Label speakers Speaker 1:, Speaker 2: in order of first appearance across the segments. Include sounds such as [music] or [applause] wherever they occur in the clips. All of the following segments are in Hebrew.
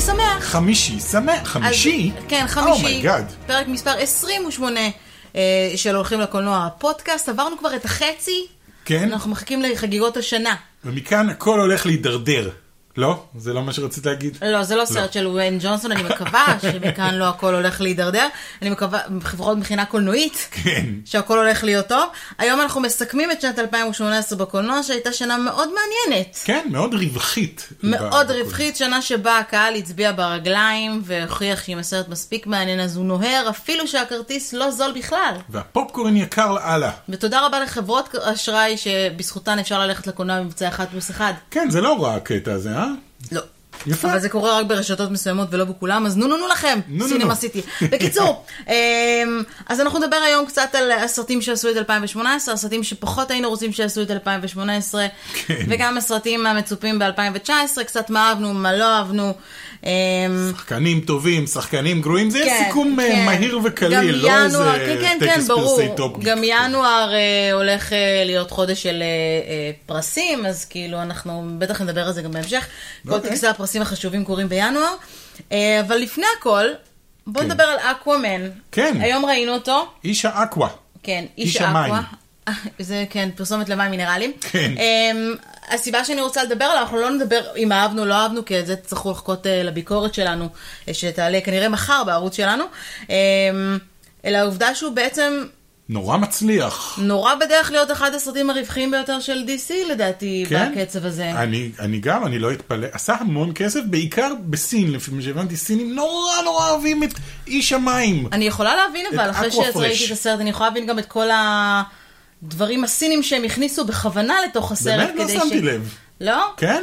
Speaker 1: שמח.
Speaker 2: חמישי שמח, חמישי? Oh
Speaker 1: אז, כן, חמישי.
Speaker 2: אומייגאד.
Speaker 1: פרק מספר 28 אה, של הולכים לקולנוע הפודקאסט. עברנו כבר את החצי.
Speaker 2: כן?
Speaker 1: אנחנו מחכים לחגיגות השנה.
Speaker 2: ומכאן הכל הולך להידרדר. לא? זה לא מה שרצית להגיד?
Speaker 1: לא, זה לא סרט של וויין ג'ונסון, אני
Speaker 2: [laughs]
Speaker 1: מקווה שמכאן לא הכל הולך להידרדר. אני מקווה, לפחות מבחינה קולנועית,
Speaker 2: כן.
Speaker 1: שהכל הולך להיות טוב. היום אנחנו מסכמים את שנת 2018 בקולנוע, שהייתה שנה מאוד מעניינת.
Speaker 2: כן, מאוד רווחית.
Speaker 1: מאוד
Speaker 2: ב-
Speaker 1: רווחית, שנה שבה הקהל הצביע ברגליים והוכיח שאם הסרט מספיק מעניין אז הוא נוהר, אפילו שהכרטיס לא זול בכלל.
Speaker 2: והפופקורן יקר לאללה.
Speaker 1: ותודה רבה לחברות אשראי שבזכותן אפשר ללכת לקולנוע במבצע אחד פלוס אחד.
Speaker 2: כן, זה לא רע הקטע הזה, אה?
Speaker 1: לא.
Speaker 2: יפה.
Speaker 1: אבל זה קורה רק ברשתות מסוימות ולא בכולם, אז נו נו נו לכם,
Speaker 2: נו, נו,
Speaker 1: סינמה
Speaker 2: נו.
Speaker 1: סיטי.
Speaker 2: [laughs]
Speaker 1: בקיצור, אמ, אז אנחנו נדבר היום קצת על הסרטים שעשו את 2018, הסרטים שפחות היינו רוצים שיעשו את 2018,
Speaker 2: כן.
Speaker 1: וגם הסרטים המצופים ב-2019, קצת מה אהבנו, מה לא אהבנו. אמ,
Speaker 2: שחקנים טובים, שחקנים גרועים, זה יהיה סיכום אה,
Speaker 1: כן.
Speaker 2: מהיר וקליל,
Speaker 1: גם
Speaker 2: לא איזה
Speaker 1: ינואר- כן, כן, כן,
Speaker 2: טקס
Speaker 1: ברור.
Speaker 2: פרסי טופ.
Speaker 1: גם ינואר אה, הולך אה, להיות חודש של אה, אה, פרסים, אז כאילו אנחנו בטח נדבר על זה גם בהמשך. כל
Speaker 2: אוקיי.
Speaker 1: טקסי הפרסים החשובים קורים בינואר. אה, אבל לפני הכל, בוא
Speaker 2: כן.
Speaker 1: נדבר על אקוואמן.
Speaker 2: כן.
Speaker 1: היום ראינו אותו.
Speaker 2: איש האקווה.
Speaker 1: כן,
Speaker 2: איש
Speaker 1: איש
Speaker 2: המים.
Speaker 1: אקווה. [laughs] זה כן, פרסומת למים מינרליים.
Speaker 2: כן.
Speaker 1: אמ, הסיבה שאני רוצה לדבר עליו, אנחנו לא נדבר אם אהבנו, לא אהבנו, כי את זה תצטרכו לחכות אה, לביקורת שלנו, אה, שתעלה כנראה מחר בערוץ שלנו. אמ, אלא העובדה שהוא בעצם
Speaker 2: נורא מצליח.
Speaker 1: נורא בדרך להיות אחד הסרטים הרווחיים ביותר של DC לדעתי,
Speaker 2: כן?
Speaker 1: בקצב הזה.
Speaker 2: אני, אני גם, אני לא אתפלא. עשה המון כסף, בעיקר בסין, לפי מה שהבנתי, סינים נורא נורא אוהבים את איש המים.
Speaker 1: אני יכולה להבין אבל, אחרי
Speaker 2: Aqua
Speaker 1: שראיתי
Speaker 2: Fresh.
Speaker 1: את הסרט, אני יכולה להבין גם את כל הדברים הסינים שהם הכניסו בכוונה לתוך הסרט.
Speaker 2: באמת? לא
Speaker 1: כדי
Speaker 2: שמתי
Speaker 1: ש-
Speaker 2: לב.
Speaker 1: לא?
Speaker 2: כן?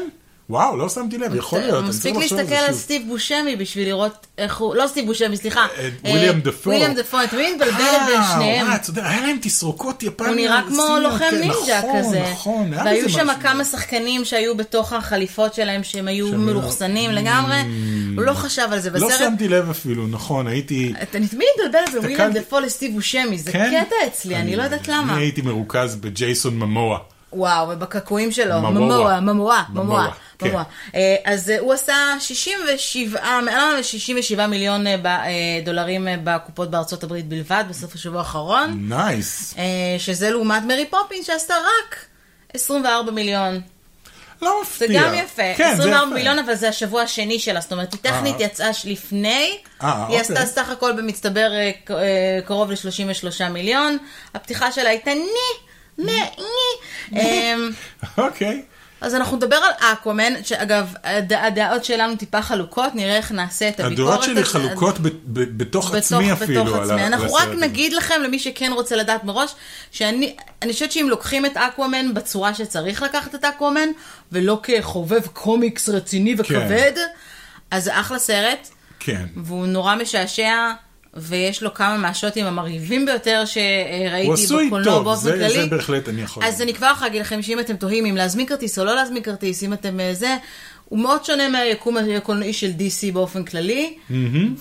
Speaker 2: וואו, לא שמתי לב, יכול להיות. אני
Speaker 1: אוקיי, מספיק
Speaker 2: צריך לחשוב
Speaker 1: להסתכל
Speaker 2: זה
Speaker 1: על
Speaker 2: שוב.
Speaker 1: סטיב בושמי בשביל לראות איך הוא, לא סטיב בושמי, סליחה.
Speaker 2: אה, וויליאם
Speaker 1: אה,
Speaker 2: דפו.
Speaker 1: וויליאם דפו, את מי מתבלבלת בין שניהם?
Speaker 2: אה, צודק, היה להם תסרוקות יפניות.
Speaker 1: הוא נראה כמו
Speaker 2: סינים,
Speaker 1: לוחם
Speaker 2: כן,
Speaker 1: נינג'ה
Speaker 2: נכון,
Speaker 1: כזה.
Speaker 2: נכון, היה
Speaker 1: והיו
Speaker 2: בזה
Speaker 1: שם
Speaker 2: משהו.
Speaker 1: כמה שחקנים שהיו בתוך החליפות שלהם, שהם היו
Speaker 2: שהם לא-
Speaker 1: מלוכסנים לגמרי. הוא לא חשב על זה
Speaker 2: לא
Speaker 1: בסרט.
Speaker 2: שמתי לב אפילו, נכון, הייתי...
Speaker 1: אתה מי מתבלבל בין וויליאם
Speaker 2: הסתכלתי-
Speaker 1: דפו לסטיב בושמי? זה
Speaker 2: כן?
Speaker 1: קטע אצלי, אני לא יודעת למה.
Speaker 2: אני הייתי מרוכז בג'ייסון ממואה.
Speaker 1: וואו, ובקעקועים שלו,
Speaker 2: ממואה.
Speaker 1: ממואה, ממואה,
Speaker 2: ממואה,
Speaker 1: ממואה,
Speaker 2: כן.
Speaker 1: ממואה. אה, אז אה, הוא עשה 67, מעל 67 מיליון אה, ב- אה, דולרים אה, בקופות בארצות הברית בלבד, בסוף השבוע האחרון,
Speaker 2: נייס.
Speaker 1: אה, שזה לעומת מרי פופינס שעשתה רק 24 מיליון.
Speaker 2: לא
Speaker 1: זה
Speaker 2: מפתיע.
Speaker 1: גם יפה,
Speaker 2: כן, זה
Speaker 1: 24
Speaker 2: יפה.
Speaker 1: מיליון, אבל זה השבוע השני שלה, זאת אומרת, היא טכנית
Speaker 2: אה.
Speaker 1: יצאה ש- לפני,
Speaker 2: אה,
Speaker 1: היא
Speaker 2: אוקיי.
Speaker 1: עשתה סך הכל במצטבר אה, ק- אה, קרוב ל-33 מיליון, הפתיחה שלה הייתה ני, ני,
Speaker 2: [laughs]
Speaker 1: ני. אמ,
Speaker 2: אוקיי.
Speaker 1: אז אנחנו נדבר על אקוומן, שאגב, הד- הדעות שלנו טיפה חלוקות, נראה איך נעשה את הביקורת.
Speaker 2: הדעות שלי
Speaker 1: הזאת.
Speaker 2: חלוקות ב- ב- בתוך
Speaker 1: בתוך-
Speaker 2: עצמי אפילו.
Speaker 1: בתוך
Speaker 2: על ה-
Speaker 1: עצמי.
Speaker 2: על
Speaker 1: אנחנו רק
Speaker 2: הסרט הזה.
Speaker 1: נגיד לכם, למי שכן רוצה לדעת מראש, שאני אני חושבת שאם לוקחים את אקוומן בצורה שצריך לקחת את אקוומן, ולא כחובב קומיקס רציני וכבד, אז זה אחלה סרט,
Speaker 2: כן. [laughs]
Speaker 1: והוא נורא משעשע. ויש לו כמה מהשוטים המרהיבים ביותר
Speaker 2: הוא
Speaker 1: שראיתי
Speaker 2: עשוי
Speaker 1: בקולנוע
Speaker 2: טוב,
Speaker 1: באופן
Speaker 2: זה
Speaker 1: כללי.
Speaker 2: זה בהחלט אני יכול.
Speaker 1: אז אני כבר יכולה להגיד לכם שאם אתם תוהים אם להזמין כרטיס או לא להזמין כרטיס, אם אתם אה, זה, הוא מאוד שונה מהיקום הקולנועי של DC באופן כללי,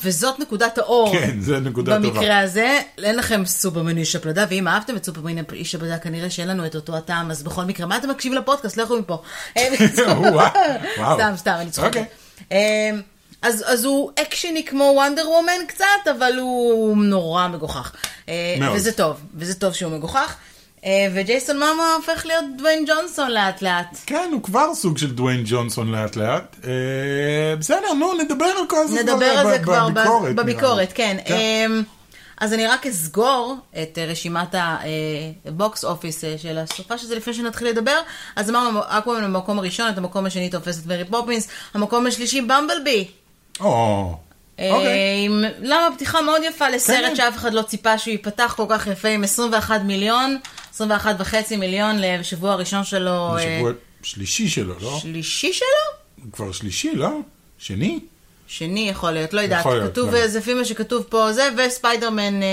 Speaker 1: וזאת נקודת האור.
Speaker 2: כן, זו נקודה טובה.
Speaker 1: במקרה הזה, אין לכם סופרמן איש הפלדה, ואם אהבתם את סופרמן איש הפלדה, כנראה שאין לנו את אותו הטעם, אז בכל מקרה, מה אתם מקשיבים לפודקאסט? לכו
Speaker 2: [laughs]
Speaker 1: מפה. אה,
Speaker 2: וואו, וואו.
Speaker 1: סתם, סתם, אני צוחקת.
Speaker 2: אוקיי.
Speaker 1: אה, אז, אז הוא אקשני כמו וונדר וומן קצת, אבל הוא נורא מגוחך. אה,
Speaker 2: מאוד.
Speaker 1: וזה טוב, וזה טוב שהוא מגוחך. אה, וג'ייסון ממה הופך להיות דוויין ג'ונסון לאט לאט.
Speaker 2: כן, הוא כבר סוג של דוויין ג'ונסון לאט לאט. אה, בסדר, נו, נדבר על כל זה
Speaker 1: נדבר על
Speaker 2: ב-
Speaker 1: זה
Speaker 2: ב-
Speaker 1: כבר ב-
Speaker 2: בביקורת. נראה לי.
Speaker 1: בביקורת, כן. אמ, אז אני רק אסגור את אה, רשימת הבוקס אופיס אה, של הסופה שזה לפני שנתחיל לדבר. אז אמרנו, אקוואמן במקום הראשון, את המקום השני תופסת מרי פופינס, המקום השלישי במבלבי.
Speaker 2: או, אוקיי.
Speaker 1: אה, עם- למה פתיחה מאוד יפה
Speaker 2: כן.
Speaker 1: לסרט שאף אחד לא ציפה שהוא ייפתח כל כך יפה עם 21 מיליון, 21 וחצי מיליון לשבוע הראשון שלו, אה,
Speaker 2: שבוע שלישי שלו, לא?
Speaker 1: שלישי שלו?
Speaker 2: הוא כבר שלישי, לא? שני?
Speaker 1: שני יכול להיות, לא יודעת,
Speaker 2: יכול להיות,
Speaker 1: כתוב,
Speaker 2: לא.
Speaker 1: אה, זה לפי מה שכתוב פה זה, וספיידרמן, אה,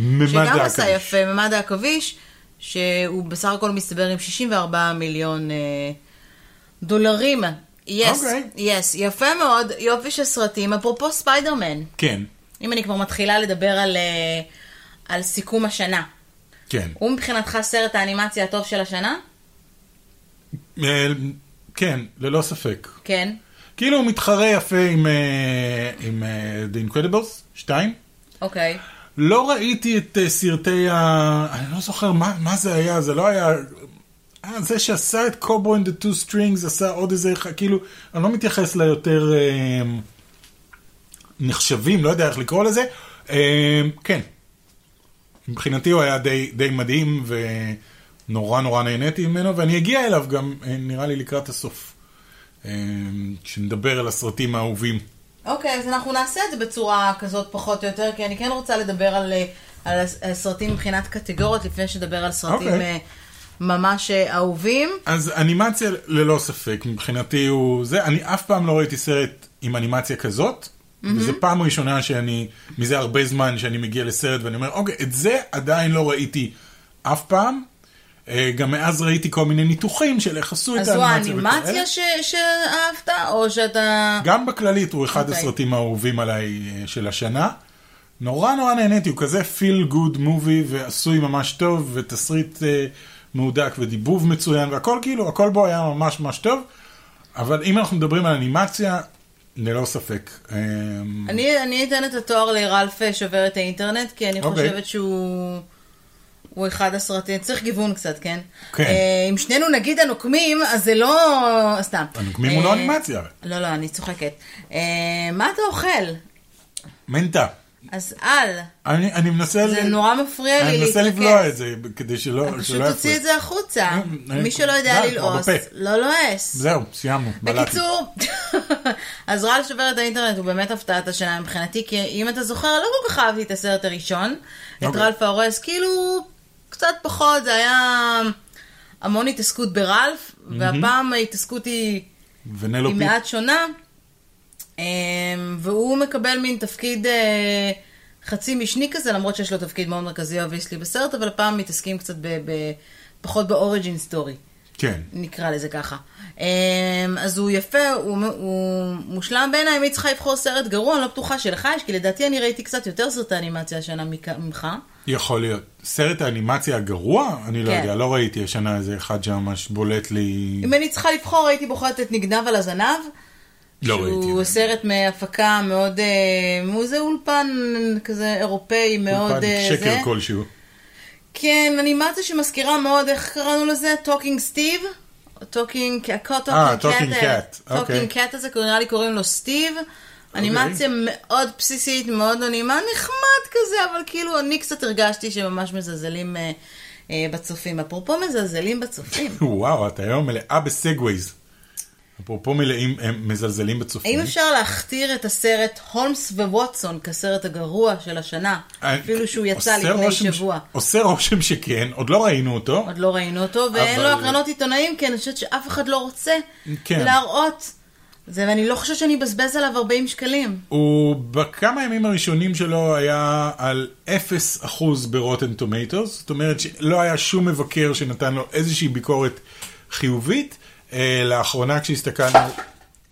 Speaker 2: ממד
Speaker 1: שגם עשה
Speaker 2: העכביש.
Speaker 1: יפה, ממד העכביש, שהוא בסך הכל מסתבר עם 64 מיליון אה, דולרים. יס,
Speaker 2: אוקיי.
Speaker 1: יס, יפה מאוד, יופי של סרטים, אפרופו ספיידרמן,
Speaker 2: כן,
Speaker 1: אם אני כבר מתחילה לדבר על, אה, על סיכום השנה,
Speaker 2: כן.
Speaker 1: הוא מבחינתך סרט האנימציה הטוב של השנה?
Speaker 2: אה, כן, ללא ספק.
Speaker 1: כן.
Speaker 2: כאילו הוא מתחרה יפה עם, אה, עם אה, The Incredibles 2.
Speaker 1: אוקיי.
Speaker 2: לא ראיתי את אה, סרטי ה... אני לא זוכר מה, מה זה היה, זה לא היה... אה, זה שעשה את קובו and the two strings עשה עוד איזה אחד, כאילו, אני לא מתייחס ליותר אה, נחשבים, לא יודע איך לקרוא לזה. אה, כן, מבחינתי הוא היה די, די מדהים ונורא נורא נהניתי ממנו, ואני אגיע אליו גם, אה, נראה לי, לקראת הסוף. אה, כשנדבר על הסרטים האהובים.
Speaker 1: אוקיי, אז אנחנו נעשה את זה בצורה כזאת פחות או יותר, כי אני כן רוצה לדבר על, אה, על הס- הסרטים מבחינת קטגוריות, לפני שנדבר על סרטים
Speaker 2: אוקיי.
Speaker 1: אה, ממש אה, אהובים.
Speaker 2: אז אנימציה ללא ספק, מבחינתי הוא זה, אני אף פעם לא ראיתי סרט עם אנימציה כזאת, וזו פעם ראשונה שאני, מזה הרבה זמן שאני מגיע לסרט ואני אומר, אוקיי, את זה עדיין לא ראיתי אף פעם. אה, גם מאז ראיתי כל מיני ניתוחים של איך עשו את
Speaker 1: אז זו
Speaker 2: האנימציה. וכאלה.
Speaker 1: האנימציה ש- שאהבת, או שאתה...
Speaker 2: גם בכללית הוא אחד
Speaker 1: אוקיי.
Speaker 2: הסרטים האהובים עליי אה, של השנה. נורא נורא נהניתי, הוא כזה פיל גוד מובי ועשוי ממש טוב ותסריט אה, מהודק ודיבוב מצוין והכל כאילו, הכל בו היה ממש ממש טוב. אבל אם אנחנו מדברים על אנימציה, ללא ספק. אה,
Speaker 1: אני, אני אתן את התואר לרלף אה, שובר את האינטרנט, כי אני okay.
Speaker 2: אוקיי.
Speaker 1: חושבת שהוא הוא אחד הסרטים, צריך גיוון קצת, כן?
Speaker 2: כן.
Speaker 1: אה, אם שנינו נגיד הנוקמים, אז זה לא... סתם.
Speaker 2: הנוקמים הוא לא
Speaker 1: אה,
Speaker 2: אנימציה.
Speaker 1: לא, לא, אני צוחקת. אה, מה אתה אוכל?
Speaker 2: מנטה.
Speaker 1: אז אל,
Speaker 2: אני, אני מנסה...
Speaker 1: זה
Speaker 2: ל-
Speaker 1: נורא מפריע לי
Speaker 2: אני
Speaker 1: להתרכז.
Speaker 2: מנסה לבלוע את זה כדי שלא...
Speaker 1: פשוט
Speaker 2: שלא
Speaker 1: תוציא
Speaker 2: יפריע.
Speaker 1: את זה החוצה.
Speaker 2: אה,
Speaker 1: מי שלא יודע
Speaker 2: די, כבר
Speaker 1: ללעוס,
Speaker 2: בפה.
Speaker 1: לא לועס.
Speaker 2: זהו, סיימנו. בלעתי.
Speaker 1: בקיצור, [laughs] אז רעל שובר את האינטרנט הוא באמת הפתעת השנה מבחינתי, כי אם אתה זוכר, לא כל כך אהבתי את הסרט הראשון, את
Speaker 2: אוקיי.
Speaker 1: רלף ההורס, כאילו, קצת פחות, זה היה המון התעסקות ברלף, והפעם ההתעסקות היא היא
Speaker 2: ונלופי.
Speaker 1: מעט שונה, אמ, והוא מקבל מין תפקיד אה, חצי משני כזה, למרות שיש לו תפקיד מאוד מרכזי אובייסלי בסרט, אבל הפעם מתעסקים קצת ב- ב- פחות באוריג'ין סטורי.
Speaker 2: כן.
Speaker 1: נקרא לזה ככה. אמ, אז הוא יפה, הוא, מ- הוא מושלם בעיניי, אם היא צריכה לבחור סרט גרוע, אני לא בטוחה שלך יש, כי לדעתי אני ראיתי קצת יותר סרטי אנימציה השנה מכ- ממך.
Speaker 2: יכול להיות. סרט האנימציה הגרוע? אני לא
Speaker 1: כן.
Speaker 2: יודע, לא ראיתי השנה איזה אחד שממש בולט לי.
Speaker 1: אם אני צריכה לבחור, הייתי בוחרת את נגנב על הזנב.
Speaker 2: לא ראיתי.
Speaker 1: שהוא סרט מהפקה מאוד, אה, הוא איזה אולפן כזה אירופאי מאוד
Speaker 2: אולפן
Speaker 1: אה, זה.
Speaker 2: שקר כלשהו.
Speaker 1: כן, אנימציה שמזכירה מאוד, איך קראנו לזה? טוקינג סטיב? טוקינג, הקוט
Speaker 2: אה, Talking Cat, אוקיי.
Speaker 1: טוקינג קאט הזה, נראה לי קוראים לו סטיב. אנימציה מאוד בסיסית, מאוד לא נעימה, נחמד כזה, אבל כאילו אני קצת הרגשתי שממש מזלזלים אה, אה, בצופים. אפרופו מזלזלים
Speaker 2: [laughs]
Speaker 1: בצופים,
Speaker 2: וואו, את היום מלאה בסגווייז. אפרופו מלאים, הם מזלזלים בצופים.
Speaker 1: האם אפשר להכתיר את הסרט הולמס וווטסון כסרט הגרוע של השנה?
Speaker 2: אה,
Speaker 1: אפילו שהוא יצא
Speaker 2: עושה
Speaker 1: לפני
Speaker 2: רושם ש-
Speaker 1: שבוע.
Speaker 2: עושה רושם שכן, עוד לא ראינו אותו.
Speaker 1: עוד לא ראינו אותו, ואין
Speaker 2: אבל-
Speaker 1: לו הקרנות עיתונאים, כי אני חושבת שאף אחד לא רוצה
Speaker 2: כן.
Speaker 1: להראות. זה, ואני לא חושבת שאני אבזבז עליו 40 שקלים.
Speaker 2: הוא בכמה ימים הראשונים שלו היה על 0% ברוטן טומטוס, זאת אומרת שלא היה שום מבקר שנתן לו איזושהי ביקורת חיובית. אה, לאחרונה כשהסתכלנו,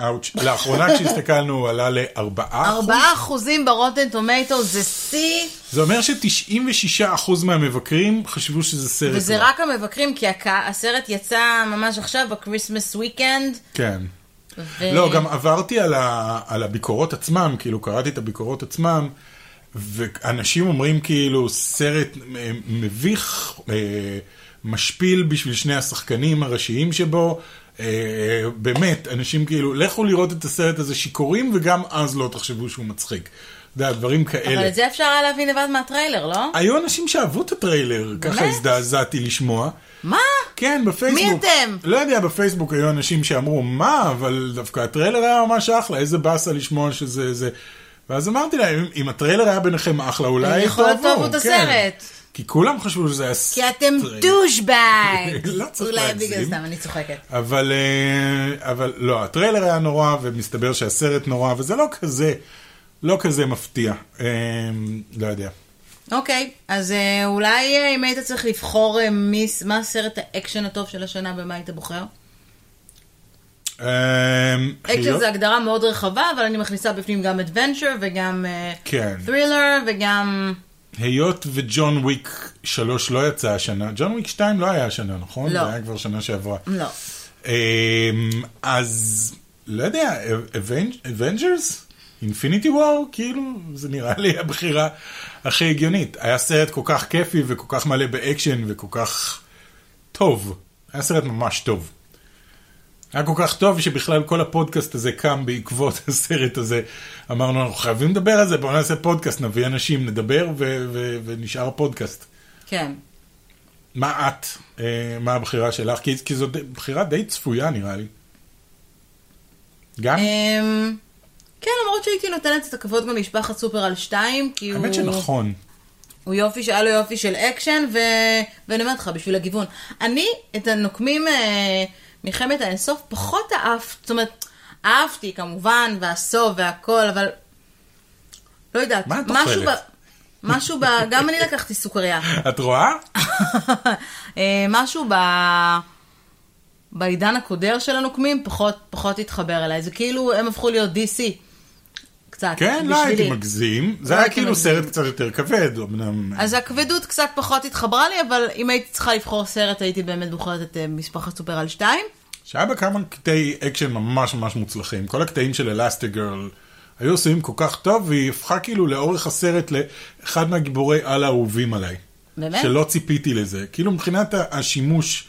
Speaker 2: אאוץ', לאחרונה כשהסתכלנו הוא עלה ל-4%.
Speaker 1: 4 אחוזים ברוטן טומטו זה שיא,
Speaker 2: זה אומר ש-96% מהמבקרים חשבו שזה סרט.
Speaker 1: וזה
Speaker 2: רע.
Speaker 1: רק המבקרים, כי הק... הסרט יצא ממש עכשיו, בקריסמס וויקנד.
Speaker 2: כן.
Speaker 1: ו...
Speaker 2: לא, גם עברתי על, ה, על הביקורות עצמם, כאילו קראתי את הביקורות עצמם, ואנשים אומרים כאילו סרט אה, מביך, אה, משפיל בשביל שני השחקנים הראשיים שבו. אה, באמת, אנשים כאילו, לכו לראות את הסרט הזה שיכורים, וגם אז לא תחשבו שהוא מצחיק. אתה יודע, דברים כאלה.
Speaker 1: אבל את זה אפשר היה להבין לבד מהטריילר, לא?
Speaker 2: היו אנשים שאהבו את הטריילר, ככה הזדעזעתי לשמוע.
Speaker 1: מה?
Speaker 2: כן, בפייסבוק.
Speaker 1: מי אתם?
Speaker 2: לא יודע, בפייסבוק היו אנשים שאמרו, מה, אבל דווקא הטריילר היה ממש אחלה, איזה באסה לשמוע שזה זה. ואז אמרתי להם, "אם- אם הטריילר היה ביניכם אחלה, אולי
Speaker 1: אז יכול להיות טוב את
Speaker 2: כן."
Speaker 1: הסרט.
Speaker 2: כי כולם חשבו שזה היה
Speaker 1: כי אתם
Speaker 2: טריילר.
Speaker 1: דושבג.
Speaker 2: [laughs] לא צריך
Speaker 1: אולי
Speaker 2: להגזים.
Speaker 1: בגלל סתם, אני צוחקת.
Speaker 2: אבל, אה, אבל לא, הטריילר היה נורא, ומסתבר שהסרט נורא, וזה לא כזה, לא כזה מפתיע. אה, לא יודע.
Speaker 1: אוקיי, אז אה, אולי אה, אם היית צריך לבחור אה, מי, מה סרט האקשן הטוב של השנה, במה היית בוחר?
Speaker 2: אה,
Speaker 1: אקשן
Speaker 2: היות-
Speaker 1: זה הגדרה מאוד רחבה, אבל אני מכניסה בפנים גם אדוונצ'ר וגם
Speaker 2: כן.
Speaker 1: ת'רילר וגם...
Speaker 2: היות וג'ון וויק 3 לא יצא השנה, ג'ון וויק 2 לא היה השנה, נכון?
Speaker 1: לא.
Speaker 2: זה היה כבר שנה שעברה.
Speaker 1: לא.
Speaker 2: אמ, אז לא יודע, אבנג'רס? אינפיניטי וור? כאילו, זה נראה לי הבחירה הכי הגיונית. היה סרט כל כך כיפי וכל כך מלא באקשן וכל כך טוב. היה סרט ממש טוב. היה כל כך טוב שבכלל כל הפודקאסט הזה קם בעקבות [laughs] הסרט הזה. אמרנו, אנחנו חייבים לדבר על זה, בואו נעשה פודקאסט, נביא אנשים, נדבר ו- ו- ונשאר פודקאסט.
Speaker 1: כן.
Speaker 2: מה את, אה, מה הבחירה שלך? כי, כי זו די- בחירה די צפויה נראה לי. גם?
Speaker 1: אמ, כן, למרות שהייתי נותנת את הכבוד גם למשפחת סופר על שתיים, כי הוא...
Speaker 2: האמת שנכון.
Speaker 1: הוא יופי שהיה לו יופי של אקשן, ו... ואני אומרת לך, בשביל הגיוון. אני את הנוקמים אה, מלחמת האינסוף פחות אהבת, זאת אומרת, אהבתי כמובן, והסוף והכל, אבל לא יודעת.
Speaker 2: מה את
Speaker 1: משהו
Speaker 2: אוכלת?
Speaker 1: משהו ב... גם אני לקחתי
Speaker 2: [laughs]
Speaker 1: סוכריה.
Speaker 2: את רואה?
Speaker 1: [laughs] אה, משהו ב... בעידן הקודר של הנוקמים פחות, פחות התחבר אליי. זה כאילו, הם הפכו להיות DC. קצת,
Speaker 2: כן, לא הייתי
Speaker 1: בשבילי.
Speaker 2: מגזים.
Speaker 1: לא
Speaker 2: זה היה
Speaker 1: הייתי
Speaker 2: כאילו
Speaker 1: מגזים.
Speaker 2: סרט קצת יותר כבד, אמנם...
Speaker 1: אז הכבדות קצת פחות התחברה לי, אבל אם הייתי צריכה לבחור סרט, הייתי באמת בוחרת את אה, משפחת סופר על שתיים.
Speaker 2: שהיה בה כמה קטעי אקשן ממש ממש מוצלחים. כל הקטעים של אלסטיגרל היו עושים כל כך טוב, והיא הפכה כאילו לאורך הסרט לאחד מהגיבורי על האהובים עליי.
Speaker 1: באמת?
Speaker 2: שלא ציפיתי לזה. כאילו מבחינת ה- השימוש,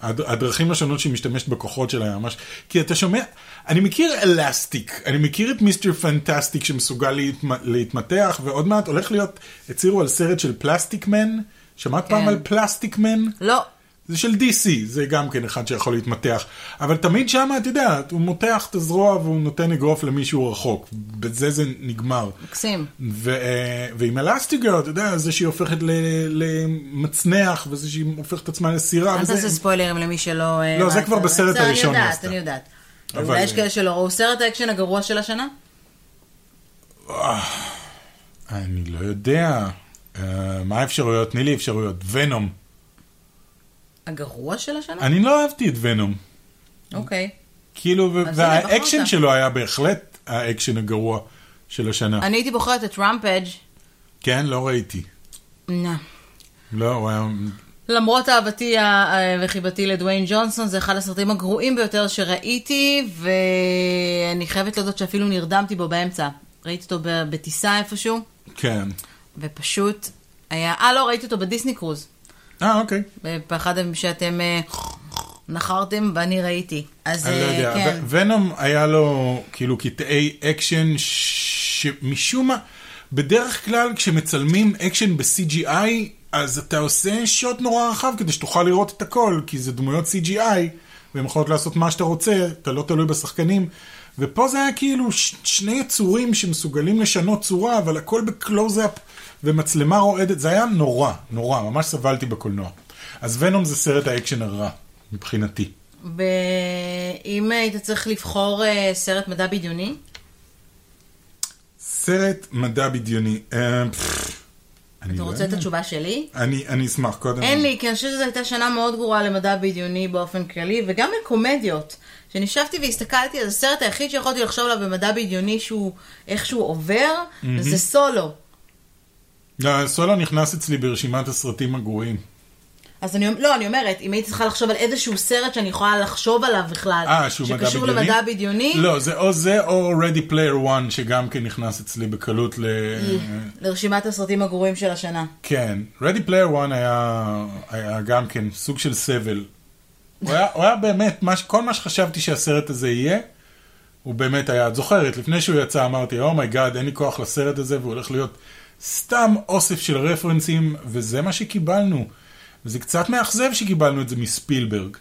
Speaker 2: הד- הדרכים השונות שהיא משתמשת בכוחות שלה ממש. כי אתה שומע, אני מכיר אלסטיק, אני מכיר את מיסטר פנטסטיק שמסוגל להתמ- להתמתח, ועוד מעט הולך להיות, הצהירו על סרט של פלסטיק מן. שמעת פעם
Speaker 1: כן.
Speaker 2: על פלסטיק מן?
Speaker 1: לא.
Speaker 2: זה של DC, זה גם כן אחד שיכול להתמתח. אבל תמיד שם, את יודעת, הוא מותח את הזרוע והוא נותן אגרוף למישהו רחוק. בזה זה נגמר.
Speaker 1: מקסים.
Speaker 2: ו, אה, ועם אלסטיגר, אתה יודע, זה שהיא הופכת ל, למצנח, וזה שהיא הופכת את עצמה לסירה,
Speaker 1: אל
Speaker 2: וזה...
Speaker 1: תעשה ספוילרים למי שלא... אה,
Speaker 2: לא, זה
Speaker 1: ראה
Speaker 2: כבר
Speaker 1: את
Speaker 2: בסרט
Speaker 1: זה אני
Speaker 2: הראשון
Speaker 1: יודעת,
Speaker 2: נעשתה.
Speaker 1: אני יודעת.
Speaker 2: אבל-
Speaker 1: אולי יש כאלה שלא ראו סרט האקשן הגרוע של השנה?
Speaker 2: אני לא יודע. אה, מה האפשרויות? תני לי אפשרויות. ונום.
Speaker 1: הגרוע של השנה?
Speaker 2: אני לא אהבתי את ונום.
Speaker 1: אוקיי.
Speaker 2: כאילו, ו-
Speaker 1: אז הנה,
Speaker 2: והאקשן
Speaker 1: בחרת.
Speaker 2: שלו היה בהחלט האקשן הגרוע של השנה.
Speaker 1: אני הייתי בוחרת את רמפג'.
Speaker 2: כן, לא ראיתי.
Speaker 1: נה.
Speaker 2: לא, הוא היה...
Speaker 1: למרות אהבתי ה- וחיבתי לדוויין ג'ונסון, זה אחד הסרטים הגרועים ביותר שראיתי, ואני חייבת להודות שאפילו נרדמתי בו באמצע. ראיתי אותו ב- בטיסה איפשהו,
Speaker 2: כן.
Speaker 1: ופשוט היה... אה, לא, ראיתי אותו בדיסני קרוז,
Speaker 2: אה, אוקיי.
Speaker 1: באחד הימים שאתם אה, נחרתם, ואני ראיתי. אז
Speaker 2: אני לא
Speaker 1: אה,
Speaker 2: יודע.
Speaker 1: כן.
Speaker 2: ו- ונום היה לו כאילו קטעי אקשן שמשום מה, בדרך כלל כשמצלמים אקשן ב-CGI, אז אתה עושה שוט נורא רחב כדי שתוכל לראות את הכל, כי זה דמויות CGI, והן יכולות לעשות מה שאתה רוצה, אתה לא תלוי בשחקנים. ופה זה היה כאילו ש- שני יצורים שמסוגלים לשנות צורה, אבל הכל בקלוז-אפ ומצלמה רועדת, זה היה נורא, נורא, ממש סבלתי בקולנוע. אז ונום זה סרט האקשן הרע, מבחינתי.
Speaker 1: ואם היית צריך לבחור אה, סרט מדע בדיוני,
Speaker 2: סרט מדע בדיוני. אה, פפפ, אני
Speaker 1: אתה
Speaker 2: לא
Speaker 1: רוצה את
Speaker 2: יודע.
Speaker 1: התשובה שלי?
Speaker 2: אני אני אשמח קודם.
Speaker 1: אין לי, כי אני חושבת שזו הייתה שנה מאוד גרועה למדע בדיוני באופן כללי, וגם לקומדיות. כשאני ישבתי והסתכלתי, אז הסרט היחיד שיכולתי לחשוב עליו במדע בדיוני שהוא איכשהו עובר, זה סולו.
Speaker 2: לא, סולו נכנס אצלי ברשימת הסרטים הגרועים.
Speaker 1: אז אני, לא, אני אומרת, אם הייתי צריכה לחשוב על איזשהו סרט שאני יכולה לחשוב עליו בכלל,
Speaker 2: אה, שהוא מדע
Speaker 1: שקשור
Speaker 2: בדיוני?
Speaker 1: למדע בדיוני,
Speaker 2: לא, זה או זה או Ready Player One, שגם כן נכנס אצלי בקלות ל...
Speaker 1: לרשימת הסרטים הגרועים של השנה.
Speaker 2: כן. Ready Player One היה היה גם כן סוג של סבל. הוא היה- הוא היה באמת, מה ש- כל מה שחשבתי שהסרט הזה יהיה, הוא באמת היה, את זוכרת, לפני שהוא יצא אמרתי, אומייגאד, אין לי כוח לסרט הזה, והוא הולך להיות סתם אוסף של רפרנסים, וזה מה שקיבלנו. וזה קצת מאכזב שקיבלנו את זה מספילברג.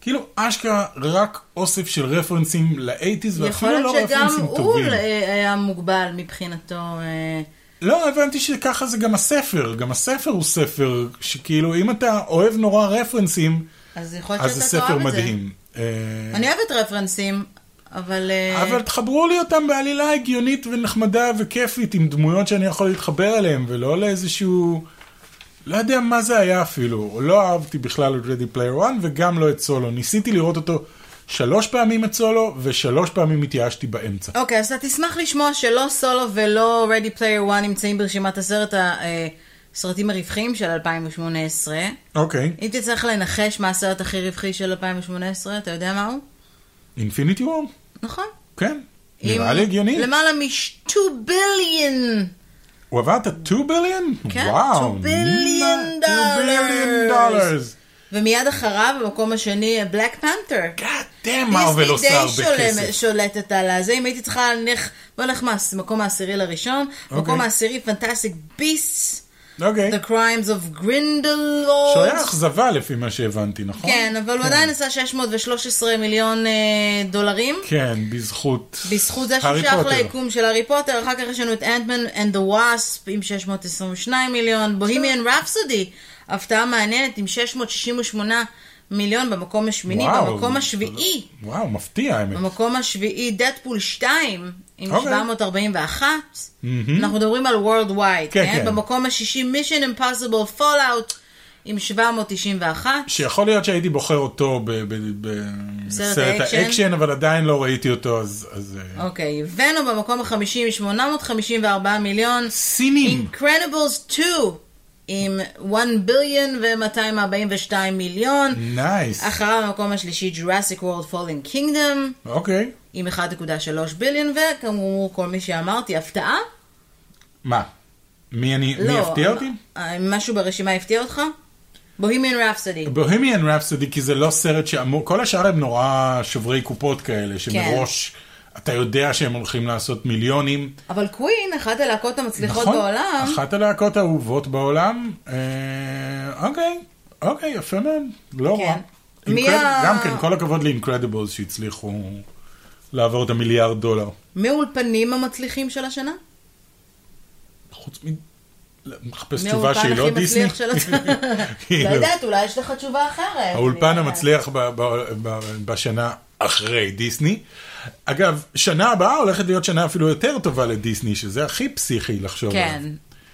Speaker 2: כאילו, אשכרה רק אוסף של רפרנסים לאייטיז,
Speaker 1: יכול
Speaker 2: ואפילו
Speaker 1: להיות
Speaker 2: לא
Speaker 1: שגם
Speaker 2: רפרנסים
Speaker 1: הוא
Speaker 2: טובים.
Speaker 1: אה, היה מוגבל מבחינתו. אה,
Speaker 2: לא, הבנתי שככה זה גם הספר. גם הספר הוא ספר שכאילו, אם אתה אוהב נורא רפרנסים,
Speaker 1: אז יכול להיות
Speaker 2: אז זה
Speaker 1: שאתה תאהב את זה.
Speaker 2: ספר מדהים. אה,
Speaker 1: אני אוהבת רפרנסים, אבל... אה,
Speaker 2: אבל תחברו לי אותם בעלילה הגיונית ונחמדה וכיפית, עם דמויות שאני יכול להתחבר אליהן, ולא לאיזשהו... לא יודע מה זה היה אפילו. לא אהבתי בכלל את Ready Player One, וגם לא את סולו. ניסיתי לראות אותו שלוש פעמים את סולו, ושלוש פעמים התייאשתי באמצע.
Speaker 1: אוקיי, אז אתה תשמח לשמוע שלא סולו ולא Ready Player One נמצאים ברשימת עשרת הסרטים הרווחיים של 2018.
Speaker 2: אוקיי,
Speaker 1: אם תצטרך לנחש מה הסרט הכי רווחי של 2018, אתה יודע מהו?
Speaker 2: אינפיניטי וור?
Speaker 1: נכון.
Speaker 2: כן, נראה לי הגיוני.
Speaker 1: למעלה מ-2 ביליון.
Speaker 2: הוא עבר את ה-2 ביליון?
Speaker 1: כן,
Speaker 2: וואו.
Speaker 1: 2 billion dollars.
Speaker 2: דולרס.
Speaker 1: ומיד אחריו, במקום השני, בלק פנתר.
Speaker 2: God damn, מרוויל עושה הרבה
Speaker 1: די שולמ-
Speaker 2: כסף.
Speaker 1: שולטת על הזה. אם הייתי צריכה להניח, בוא נלך מהמקום העשירי לראשון. במקום העשירי, פנטסטיק ביסט.
Speaker 2: אוקיי.
Speaker 1: The Crimes of Grindelwald.
Speaker 2: שהוא היה אכזבה לפי מה שהבנתי, נכון?
Speaker 1: כן, אבל הוא עדיין עשה 613 מיליון אה, דולרים.
Speaker 2: כן, בזכות...
Speaker 1: בזכות זה שהוא
Speaker 2: הארי
Speaker 1: שייך
Speaker 2: פוטר.
Speaker 1: ליקום של הארי פוטר, אחר כך יש לנו את אנטמן and the Wasp עם 622 מיליון, בוהימיאן רפסודי, הפתעה מעניינת עם 668 מיליון במקום השמיני,
Speaker 2: וואו.
Speaker 1: במקום השביעי,
Speaker 2: וואו, מפתיע האמת.
Speaker 1: במקום השביעי דדפול 2 עם
Speaker 2: אוקיי.
Speaker 1: 741, אנחנו מדברים על World Wide,
Speaker 2: כן,
Speaker 1: כן?
Speaker 2: כן.
Speaker 1: במקום השישי Mission Impossible Fallout עם 791.
Speaker 2: שיכול להיות שהייתי בוחר אותו ב- ב- ב- בסרט
Speaker 1: האקשן.
Speaker 2: האקשן, אבל עדיין לא ראיתי אותו, אז... אז, אה,
Speaker 1: אוקיי, ונום במקום החמישי עם 854 מיליון.
Speaker 2: סינים.
Speaker 1: אינקרדיבלס 2 עם 1 ביליון ו-242 מיליון.
Speaker 2: נייס.
Speaker 1: אחריו במקום השלישי Jurassic World Fallen Kingdom
Speaker 2: אוקיי.
Speaker 1: עם 1.3 ביליון וכאמור כל מי שאמרתי הפתעה. לא,
Speaker 2: מה? מי אני... מי הפתיע אותי?
Speaker 1: אה, משהו ברשימה הפתיע אותך? בוהימיאן רפסודי.
Speaker 2: בוהמיאן רפסודי, כי זה לא סרט שאמור... כל השאר הם נורא שוברי קופות
Speaker 1: כן.
Speaker 2: כאלה, שמראש אתה יודע שהם הולכים לעשות מיליונים.
Speaker 1: אבל קווין, אחת הלהקות המצליחות
Speaker 2: נכון,
Speaker 1: בעולם.
Speaker 2: אחת הלהקות האהובות בעולם. אה, אוקיי, אוקיי, יפה מאוד, לא
Speaker 1: כן.
Speaker 2: רע.
Speaker 1: מי
Speaker 2: Incredible-
Speaker 1: ה-
Speaker 2: גם כן, כל הכבוד לאינקרדיבולס שהצליחו לעבור את המיליארד דולר.
Speaker 1: מהאולפנים המצליחים של השנה?
Speaker 2: חוץ מ... מחפש תשובה
Speaker 1: מהאולפן
Speaker 2: שהיא לא
Speaker 1: הכי
Speaker 2: דיסני.
Speaker 1: מצליח של השנה?
Speaker 2: [laughs] כאילו,
Speaker 1: לא יודעת, אולי יש לך תשובה אחרת.
Speaker 2: האולפן
Speaker 1: אני-
Speaker 2: המצליח ב- ב- ב- בשנה אחרי דיסני. אגב, שנה הבאה הולכת להיות שנה אפילו יותר טובה לדיסני, שזה הכי פסיכי לחשוב
Speaker 1: כן.
Speaker 2: עליו.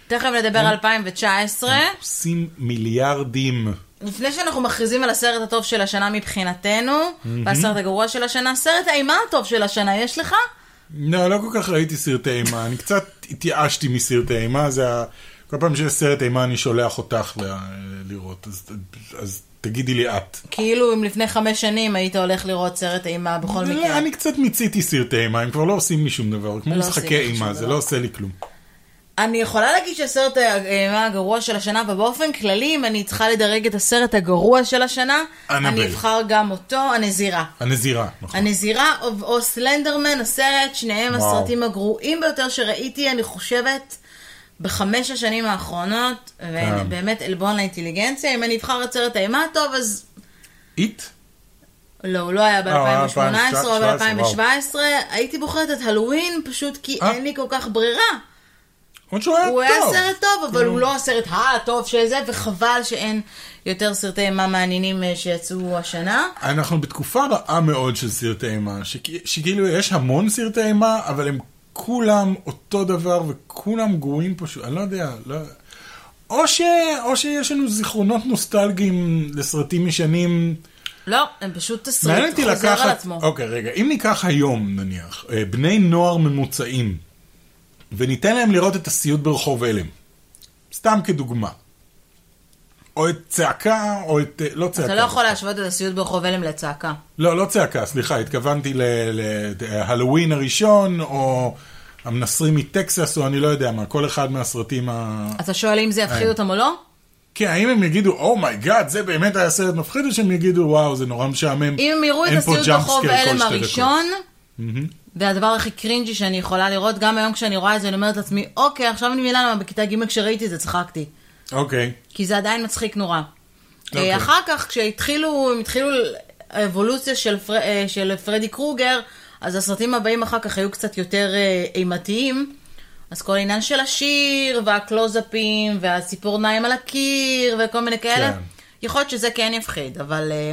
Speaker 1: תכף נדבר
Speaker 2: אה?
Speaker 1: על 2019.
Speaker 2: עושים מיליארדים.
Speaker 1: לפני שאנחנו מכריזים על הסרט הטוב של השנה מבחינתנו, והסרט הגרוע של השנה, סרט האימה הטוב של השנה, יש לך?
Speaker 2: לא, לא כל כך ראיתי סרטי אימה, אני קצת התייאשתי מסרטי אימה, זה ה... כל פעם שיש סרט אימה אני שולח אותך ל- לראות, אז, אז תגידי לי את.
Speaker 1: כאילו אם לפני חמש שנים היית הולך לראות סרט אימה בכל
Speaker 2: לא,
Speaker 1: מקרה.
Speaker 2: אני קצת מיציתי סרטי אימה, הם כבר לא עושים לי שום דבר, כמו
Speaker 1: לא
Speaker 2: משחקי
Speaker 1: עושים לי
Speaker 2: אימה,
Speaker 1: שום
Speaker 2: זה
Speaker 1: דבר.
Speaker 2: לא עושה לי כלום.
Speaker 1: אני יכולה להגיד שהסרט האימה הגרוע של השנה, ובאופן כללי, אם אני צריכה לדרג את הסרט הגרוע של השנה,
Speaker 2: אנאבל.
Speaker 1: אני אבחר גם אותו, הנזירה.
Speaker 2: הנזירה, נכון.
Speaker 1: הנזירה או- או סלנדרמן, הסרט, שניהם
Speaker 2: וואו.
Speaker 1: הסרטים הגרועים ביותר שראיתי, אני חושבת, בחמש השנים האחרונות,
Speaker 2: כן.
Speaker 1: ובאמת עלבון לאינטליגנציה. אם אני אבחר את סרט האימה הטוב, אז
Speaker 2: איט?
Speaker 1: לא, הוא לא היה ב-2018 או
Speaker 2: 2017,
Speaker 1: ב-2017. הייתי בוחרת את הלואוין, פשוט כי
Speaker 2: אה.
Speaker 1: אין לי כל כך ברירה.
Speaker 2: עוד שהוא היה טוב.
Speaker 1: הוא היה סרט טוב, אבל הוא לא הסרט הטוב של זה, וחבל שאין יותר סרטי אימה מעניינים אה, שיצאו השנה.
Speaker 2: אנחנו בתקופה רעה מאוד של סרטי אימה, שכי- שכאילו יש המון סרטי אימה, אבל הם כולם אותו דבר וכולם גרועים פשוט, אני לא יודע, לא... או, ש... או שיש לנו זיכרונות נוסטלגיים לסרטים ישנים.
Speaker 1: לא, הם פשוט
Speaker 2: מעניין
Speaker 1: תסריט
Speaker 2: אותי
Speaker 1: חוזר על
Speaker 2: לקחת...
Speaker 1: עצמו.
Speaker 2: אוקיי, רגע, אם ניקח היום נניח, אה, בני נוער ממוצעים, וניתן להם לראות את הסיוט ברחוב הלם, סתם כדוגמה. או את צעקה, או את... אה, לא צעקה.
Speaker 1: אתה לא יכול להשוות את הסיוט ברחוב הלם לצעקה.
Speaker 2: לא, לא צעקה, סליחה, התכוונתי להלווין הראשון, או המנסרים מטקסס, או אני לא יודע מה, כל אחד מהסרטים ה...
Speaker 1: אתה שואל אם זה יפחיד אותם או לא?
Speaker 2: כן, האם הם יגידו, אומייגאד, זה באמת היה סרט מפחיד, או שהם יגידו, וואו, זה נורא משעמם.
Speaker 1: אם הם יראו את
Speaker 2: אין פה
Speaker 1: הסיוט
Speaker 2: jump
Speaker 1: ברחוב
Speaker 2: scare כל
Speaker 1: הלם
Speaker 2: שתי דקות."
Speaker 1: הראשון, זה הדבר הכי קרינג'י שאני יכולה לראות, גם היום כשאני רואה את זה, אני אומרת לעצמי, אוקיי, עכשיו אני מבינה למה בכיתה ג' כשראיתי את זה צחקתי.
Speaker 2: אוקיי,
Speaker 1: כי זה עדיין מצחיק נורא.
Speaker 2: אוקיי.
Speaker 1: אה, אחר כך, כשהתחילו, הם התחילו האבולוציה של, פר, אה, של פרדי קרוגר, אז הסרטים הבאים אחר כך היו קצת יותר אה, אימתיים. אז כל העניין של השיר, והקלוזאפים, והציפורניים על הקיר, וכל מיני כאלה.
Speaker 2: כן.
Speaker 1: יכול להיות שזה כן יפחיד, אבל... אה,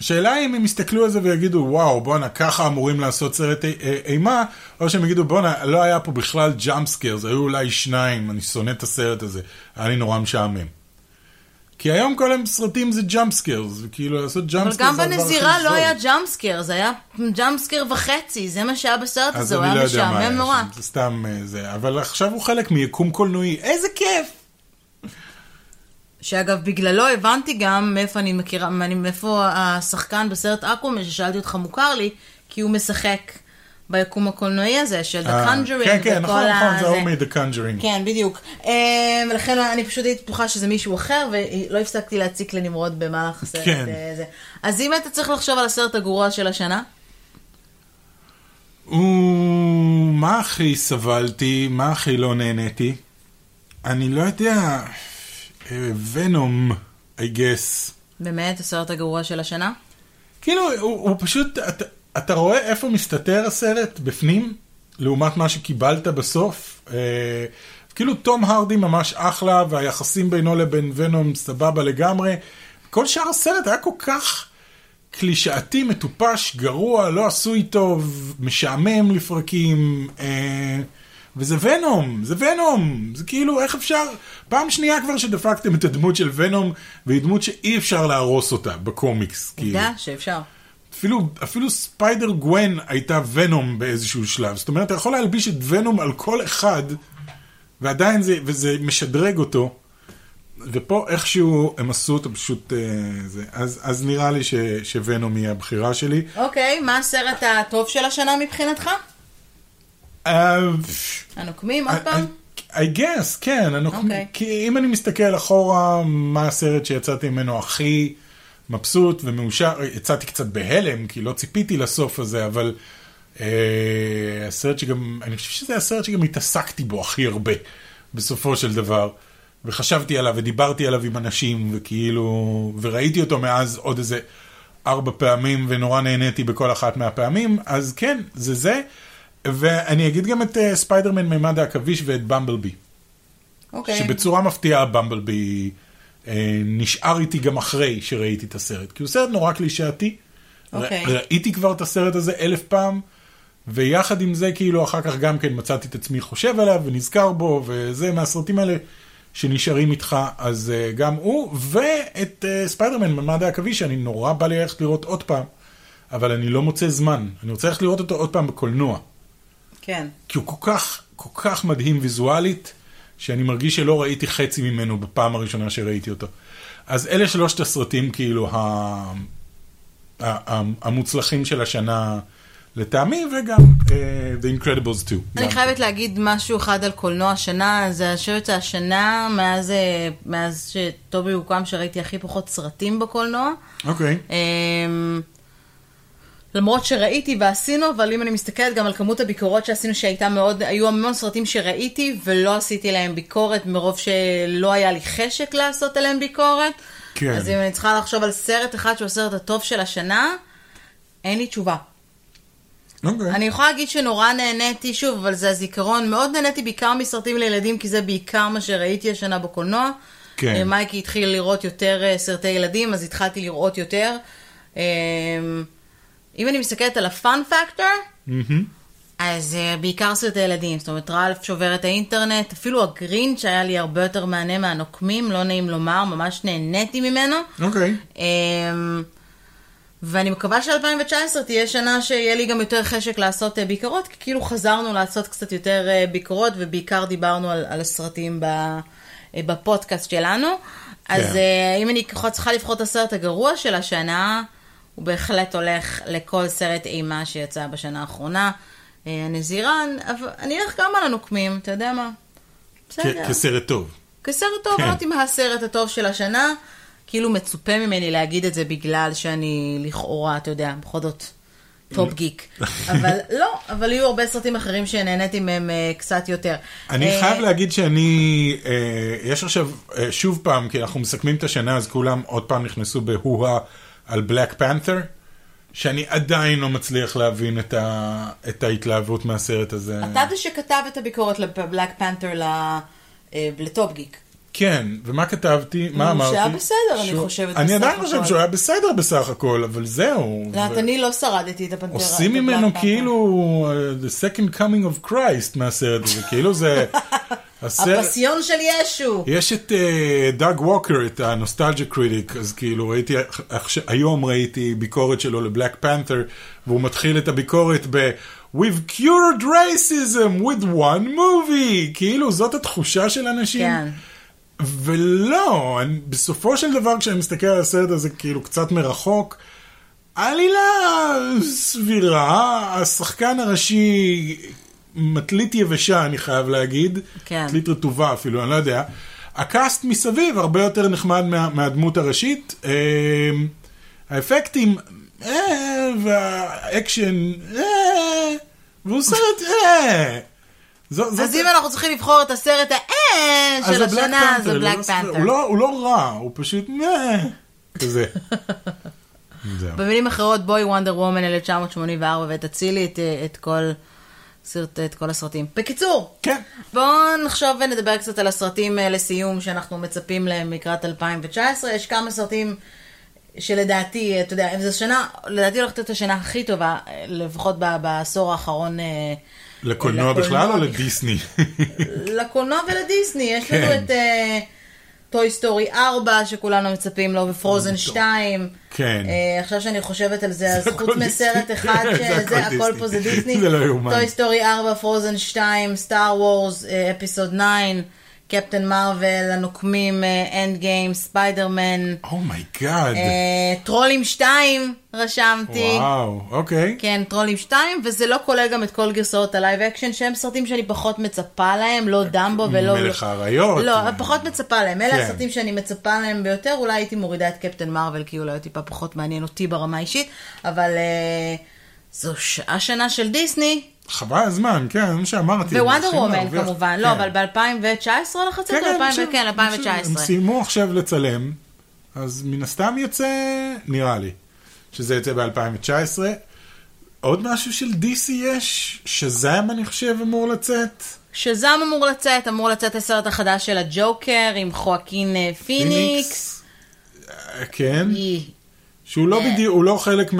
Speaker 2: השאלה היא אם הם יסתכלו על זה ויגידו, וואו, בואנה, ככה אמורים לעשות סרט אי- אה, אימה, או שהם יגידו, בואנה, לא היה פה בכלל ג'אמפ סקיירס, היו אולי שניים, אני שונא את הסרט הזה, היה לי נורא משעמם. כי היום כל הסרטים זה ג'אמפ סקיירס, וכאילו לעשות ג'אמפ
Speaker 1: אבל
Speaker 2: סקיירס
Speaker 1: גם בנזירה לא היה ג'אמפסקר, זה היה ג'אמפסקר וחצי, זה מה שהיה בסרט הזה,
Speaker 2: לא
Speaker 1: הוא היה משעמם נורא.
Speaker 2: זה סתם אה, זה, אבל עכשיו הוא חלק מיקום קולנועי, איזה כיף!
Speaker 1: שאגב, בגללו הבנתי גם מאיפה אני מכירה, מאני- מאיפה השחקן בסרט אקומן ששאלתי אותך מוכר לי, כי הוא משחק ביקום הקולנועי הזה של The
Speaker 2: אה,
Speaker 1: Conjuring.
Speaker 2: כן, כן,
Speaker 1: וכל
Speaker 2: נכון, נכון, זה
Speaker 1: הזה.
Speaker 2: הוא מ-The Conjuring.
Speaker 1: כן, בדיוק. אה, ולכן אני פשוט הייתי בטוחה שזה מישהו אחר, ולא הפסקתי להציק לנמרוד במהלך הסרט
Speaker 2: כן.
Speaker 1: אה, זה. אז אם היית צריך לחשוב על הסרט הגרוע של השנה,
Speaker 2: הוא... מה הכי סבלתי? מה הכי לא נהניתי? אני לא יודע... ונום, I guess.
Speaker 1: באמת הסרט הגרוע של השנה?
Speaker 2: כאילו, הוא, הוא פשוט... אתה, אתה רואה איפה מסתתר הסרט בפנים, לעומת מה שקיבלת בסוף. אה, כאילו, תום הרדי ממש אחלה, והיחסים בינו לבין ונום סבבה לגמרי. כל שאר הסרט היה כל כך... קלישאתי, מטופש, גרוע, לא עשוי טוב, משעמם לפרקים, אה, וזה ונום, זה ונום, זה כאילו, איך אפשר, פעם שנייה כבר שדפקתם את הדמות של ונום, והיא דמות שאי אפשר להרוס אותה בקומיקס, כאילו.
Speaker 1: עובדה שאפשר.
Speaker 2: אפילו, אפילו ספיידר גוון הייתה ונום באיזשהו שלב, זאת אומרת, אתה יכול להלביש את ונום על כל אחד, ועדיין זה, וזה משדרג אותו, ופה איכשהו הם עשו אותו פשוט, אה, זה, אז, אז נראה לי ש, שוונום היא הבחירה שלי.
Speaker 1: אוקיי, מה הסרט הטוב של השנה מבחינתך?
Speaker 2: אה,
Speaker 1: הנוקמים עוד
Speaker 2: I-
Speaker 1: פעם?
Speaker 2: I I guess, כן, אני,
Speaker 1: אוקיי.
Speaker 2: כי אם אני מסתכל אחורה, מה הסרט שיצאתי ממנו הכי מבסוט ומאושר, יצאתי קצת בהלם, כי לא ציפיתי לסוף הזה, אבל אה, הסרט שגם, אני חושב שזה הסרט שגם התעסקתי בו הכי הרבה, בסופו של דבר, וחשבתי עליו ודיברתי עליו עם אנשים, וכאילו, וראיתי אותו מאז עוד איזה ארבע פעמים, ונורא נהניתי בכל אחת מהפעמים, אז כן, זה זה. ואני אגיד גם את אה, ספיידרמן מימד העכביש ואת במבלבי,
Speaker 1: אוקיי.
Speaker 2: שבצורה מפתיעה במבלבי אה, נשאר איתי גם אחרי שראיתי את הסרט, כי הוא סרט נורא קלישאתי, ר-
Speaker 1: אוקיי.
Speaker 2: ראיתי כבר את הסרט הזה אלף פעם, ויחד עם זה כאילו אחר כך גם כן מצאתי את עצמי חושב עליו ונזכר בו, וזה מהסרטים האלה שנשארים איתך, אז אה, גם הוא, ואת אה, ספיידרמן מימד העכביש, שאני נורא בא לי ללכת לראות עוד פעם, אבל אני לא מוצא זמן, אני רוצה ללכת לראות אותו עוד פעם בקולנוע.
Speaker 1: כן.
Speaker 2: כי הוא כל כך, כל כך מדהים ויזואלית, שאני מרגיש שלא ראיתי חצי ממנו בפעם הראשונה שראיתי אותו. אז אלה שלושת הסרטים, כאילו, ה... ה... ה... המוצלחים של השנה לטעמי, וגם uh, The Incredibles 2.
Speaker 1: אני
Speaker 2: גם.
Speaker 1: חייבת להגיד משהו אחד על קולנוע השנה, זה אני חושבת שהשנה, מאז, אה, מאז שטובי הוקם, שראיתי הכי פחות סרטים בקולנוע.
Speaker 2: אוקיי.
Speaker 1: אמ, למרות שראיתי ועשינו, אבל אם אני מסתכלת גם על כמות הביקורות שעשינו, שהייתה מאוד, היו המון סרטים שראיתי ולא עשיתי להם ביקורת, מרוב שלא היה לי חשק לעשות עליהם ביקורת.
Speaker 2: כן.
Speaker 1: אז אם אני צריכה לחשוב על סרט אחד שהוא הסרט הטוב של השנה, אין לי תשובה.
Speaker 2: אוקיי.
Speaker 1: אני יכולה להגיד שנורא נהניתי, שוב, אבל זה הזיכרון, מאוד נהניתי בעיקר מסרטים לילדים, כי זה בעיקר מה שראיתי השנה בקולנוע.
Speaker 2: כן.
Speaker 1: אה, מייקי התחיל לראות יותר אה, סרטי ילדים, אז התחלתי לראות יותר. אה, אם אני מסתכלת על הפאן פקטור,
Speaker 2: מהמם.
Speaker 1: אז אה, בעיקר סרטי ילדים, זאת אומרת, רלף שובר את האינטרנט, אפילו הגרין שהיה לי הרבה יותר מהנה מהנוקמים, לא נעים לומר, ממש נהניתי ממנו.
Speaker 2: אוקיי.
Speaker 1: אמ, ואני מקווה ש-2019 תהיה שנה שיהיה לי גם יותר חשק לעשות אה, ביקורות, כי כאילו חזרנו לעשות קצת יותר אה, ביקורות, ובעיקר דיברנו על, על הסרטים ב, אה, בפודקאסט שלנו. אז אה, אם אני ככה צריכה לבחור את הסרט הגרוע של השנה, הוא בהחלט הולך לכל סרט אימה שיצא בשנה האחרונה. אה, הנזירן, אבל אני אלך גם על הנוקמים, אתה יודע מה? בסדר.
Speaker 2: כ- כסרט טוב.
Speaker 1: כסרט טוב,
Speaker 2: כן.
Speaker 1: לא יודעת אם הסרט הטוב של השנה, כאילו מצופה ממני להגיד את זה בגלל שאני לכאורה, אתה יודע, בכל זאת טופ
Speaker 2: לא.
Speaker 1: גיק.
Speaker 2: [laughs]
Speaker 1: אבל לא, אבל יהיו הרבה סרטים אחרים שנהניתי מהם אה, קצת יותר.
Speaker 2: אני
Speaker 1: אה,
Speaker 2: חייב להגיד שאני, אה, יש עכשיו, אה, שוב פעם, כי אנחנו מסכמים את השנה, אז כולם עוד פעם נכנסו בהו-הא על בלק פנת'ר, שאני עדיין לא מצליח להבין את, ה, את ההתלהבות מהסרט הזה.
Speaker 1: אתה זה שכתב את הביקורת לבלק פנת'ר אה, לטופ גיק.
Speaker 2: כן, ומה כתבתי? מה
Speaker 1: הוא-
Speaker 2: אמרתי?
Speaker 1: שהיה בסדר, אני חושבת,
Speaker 2: אני
Speaker 1: בסך
Speaker 2: עדיין חושב
Speaker 1: הכל.
Speaker 2: שהוא היה בסדר בסך הכל, אבל זהו.
Speaker 1: לא,
Speaker 2: ו-
Speaker 1: אני לא שרדתי את הפנתר.
Speaker 2: עושים
Speaker 1: את
Speaker 2: ממנו
Speaker 1: ה-Black Panther.
Speaker 2: כאילו אה, The Second Coming of Christ מהסרט הזה,
Speaker 1: [laughs]
Speaker 2: כאילו זה... הסרט-
Speaker 1: הפסיון של ישו.
Speaker 2: יש את אה, דאג ווקר, את הנוסטלג'ה קריטיק, אז כאילו ראיתי, עכשיו- היום ראיתי ביקורת שלו לבלק פנת'ר, והוא מתחיל את הביקורת ב- We've cured racism with one movie! כאילו זאת התחושה של אנשים.
Speaker 1: כן.
Speaker 2: ולא, אני, בסופו של דבר כשאני מסתכל על הסרט הזה כאילו קצת מרחוק, עלילה סבירה, השחקן הראשי מטלית יבשה, אני חייב להגיד.
Speaker 1: כן.
Speaker 2: מטלית רטובה אפילו, אני לא יודע. הקאסט מסביב הרבה יותר נחמד מה, מהדמות הראשית. אה, האפקטים, אה, והאקשן, אה, והוא סרט, אה. זו- זו-
Speaker 1: אז אם אנחנו צריכים לבחור את הסרט האה
Speaker 2: אז
Speaker 1: של
Speaker 2: זה Black
Speaker 1: השנה,
Speaker 2: Panther,
Speaker 1: זה בלק
Speaker 2: לא- הוא
Speaker 1: פנתר.
Speaker 2: לא- הוא לא רע, הוא פשוט מה,
Speaker 1: [laughs]
Speaker 2: כזה. זהו.
Speaker 1: במילים אחרות, בואי וונדר וומן 1984 ותצילי את, אה, את כל סרט- את כל הסרטים. בקיצור,
Speaker 2: כן.
Speaker 1: בואו נחשוב ונדבר קצת על הסרטים אה, לסיום שאנחנו מצפים להם לקראת 2019. יש כמה סרטים שלדעתי, אה, אתה יודע, זו שנה, לדעתי הולכת להיות השנה הכי טובה, אה, לפחות ב- בעשור האחרון. אה,
Speaker 2: לקולנוע בכלל או
Speaker 1: בכלל. [laughs]
Speaker 2: לדיסני?
Speaker 1: לקולנוע ולדיסני, יש לנו
Speaker 2: כן.
Speaker 1: את אה, טוי סטורי 4 שכולנו מצפים לו, ופרוזן 2.
Speaker 2: כן.
Speaker 1: אה, עכשיו שאני חושבת על זה, אז
Speaker 2: הכל
Speaker 1: חוץ
Speaker 2: דיסני. [laughs]
Speaker 1: מסרט אחד
Speaker 2: זה הכל
Speaker 1: שזה, הכל פה זה
Speaker 2: דיסני.
Speaker 1: דיסני.
Speaker 2: זה לא יאומן.
Speaker 1: טוי סטורי 4, פרוזן 2, סטאר וורס, אה, אפיסוד 9, קפטן מרוויל, הנוקמים, אה, אנד גיים, ספיידרמן,
Speaker 2: Oh אומייגאד.
Speaker 1: אה, טרולים 2 רשמתי.
Speaker 2: וואו, אוקיי.
Speaker 1: כן, טרולים 2, וזה לא כולל גם את כל גרסאות הלייב אקשן, שהם סרטים שאני פחות מצפה להם, לא דמבו ולא...
Speaker 2: כן, מלך האריות. אה.
Speaker 1: לא, פחות מצפה להם. אלה
Speaker 2: כן.
Speaker 1: הסרטים שאני מצפה להם ביותר, אולי הייתי מורידה את קפטן מרוויל, כי אולי הוא טיפה פחות מעניין אותי ברמה האישית, אבל אה, זו ש- השנה של דיסני,
Speaker 2: חבל הזמן, כן, זה מה שאמרתי. הם
Speaker 1: ווונדר
Speaker 2: הולכים
Speaker 1: וומן
Speaker 2: להרוויח.
Speaker 1: כמובן,
Speaker 2: כן.
Speaker 1: לא, אבל ב-2019 לחצת?
Speaker 2: כן, כן, אני חושב-
Speaker 1: כן,
Speaker 2: אני חושב-
Speaker 1: 2019.
Speaker 2: הם סיימו עכשיו לצלם, אז מן הסתם יצא, נראה לי, שזה יצא ב-2019. עוד משהו של DC יש? שזם, אני חושב, אמור לצאת.
Speaker 1: שזם אמור לצאת, אמור לצאת הסרט החדש של הג'וקר עם חואקין אה, פיניקס.
Speaker 2: אה, כן.
Speaker 1: אי,
Speaker 2: שהוא לא
Speaker 1: אה.
Speaker 2: בדיוק, הוא לא חלק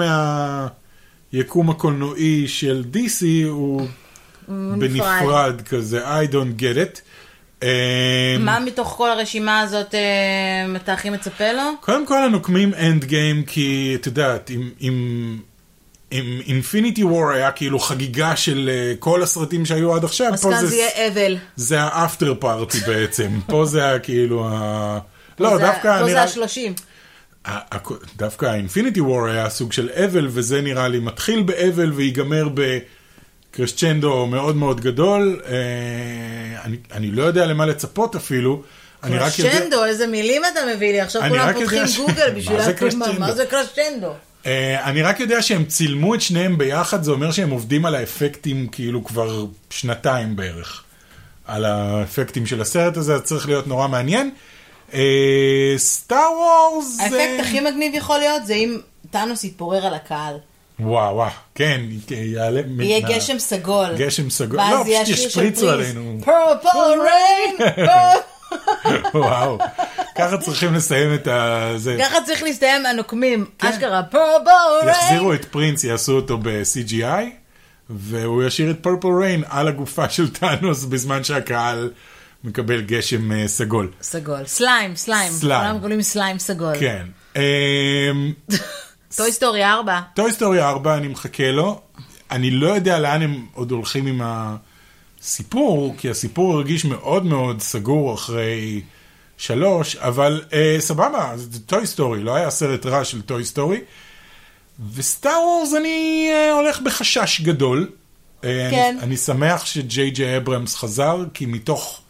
Speaker 2: מהיקום הקולנועי של DC, הוא בנפרד כזה, I don't get it. אה,
Speaker 1: מה מתוך כל הרשימה הזאת אה, אתה הכי מצפה לו?
Speaker 2: קודם כל הנוקמים אנד גיים, כי את יודעת, אם... אם... אם אינפיניטי וור היה כאילו חגיגה של אה, כל הסרטים שהיו עד עכשיו,
Speaker 1: אז
Speaker 2: פה
Speaker 1: כאן
Speaker 2: זה,
Speaker 1: זה יהיה אבל.
Speaker 2: זה האפטר פארטי
Speaker 1: [laughs]
Speaker 2: בעצם, פה זה היה כאילו ה... לא,
Speaker 1: פה זה-
Speaker 2: דווקא
Speaker 1: פה
Speaker 2: אני
Speaker 1: זה
Speaker 2: רק-
Speaker 1: השלושים.
Speaker 2: ה- ה- דווקא האינפיניטי וור היה סוג של אבל, וזה נראה לי מתחיל באבל ויגמר בקרשצ'נדו מאוד מאוד גדול. אה, אני, אני לא יודע למה לצפות אפילו. אני רק יודע...
Speaker 1: קרשנדו, איזה מילים אתה מביא לי, עכשיו
Speaker 2: אני
Speaker 1: כולם
Speaker 2: רק יודע
Speaker 1: פותחים
Speaker 2: ש-
Speaker 1: גוגל
Speaker 2: מה
Speaker 1: בשביל
Speaker 2: זה
Speaker 1: להבין מה-
Speaker 2: קרשנדו?
Speaker 1: מה זה קרשנדו.
Speaker 2: אה, אני רק יודע שהם צילמו את שניהם ביחד, זה אומר שהם עובדים על האפקטים כאילו כבר שנתיים בערך. על האפקטים של הסרט הזה, אז צריך להיות נורא מעניין. אה, סטאר וורס...
Speaker 1: האפקט הכי מגניב יכול להיות זה אם טאנוס יתפורר על הקהל.
Speaker 2: וואו, וואו, כן, יעלה... מן
Speaker 1: יהיה
Speaker 2: ה-
Speaker 1: גשם סגול.
Speaker 2: גשם סגול.
Speaker 1: ואז
Speaker 2: לא,
Speaker 1: יהיה
Speaker 2: פשוט
Speaker 1: השיר של
Speaker 2: ישפריצו
Speaker 1: פריז.
Speaker 2: עלינו.
Speaker 1: Purple rain, purple-
Speaker 2: וואו, ככה צריכים לסיים את ה... זה.
Speaker 1: [laughs] ככה צריך להסתיים הנוקמים. אשכרה, purple rain.
Speaker 2: כן. יחזירו את פרינס, יעשו אותו ב-CGI, והוא ישאיר את פרפל ריין על הגופה של טאנוס בזמן שהקהל מקבל גשם אה, סגול.
Speaker 1: סגול. סליים, סליים.
Speaker 2: סליים.
Speaker 1: כולם קוראים סליים סגול.
Speaker 2: כן. אמ,
Speaker 1: טוי סטורי 4.
Speaker 2: טוי סטורי 4, אני מחכה לו. אני לא יודע לאן הם עוד הולכים עם הסיפור, כי הסיפור הרגיש מאוד מאוד סגור אחרי שלוש, אבל אה, סבבה, זה טוי סטורי, לא היה סרט רע של טוי סטורי. וסטאר וורס אני אה, הולך בחשש גדול. אה,
Speaker 1: כן.
Speaker 2: אני, אני שמח שג'יי ג'יי אברמס חזר, כי מתוך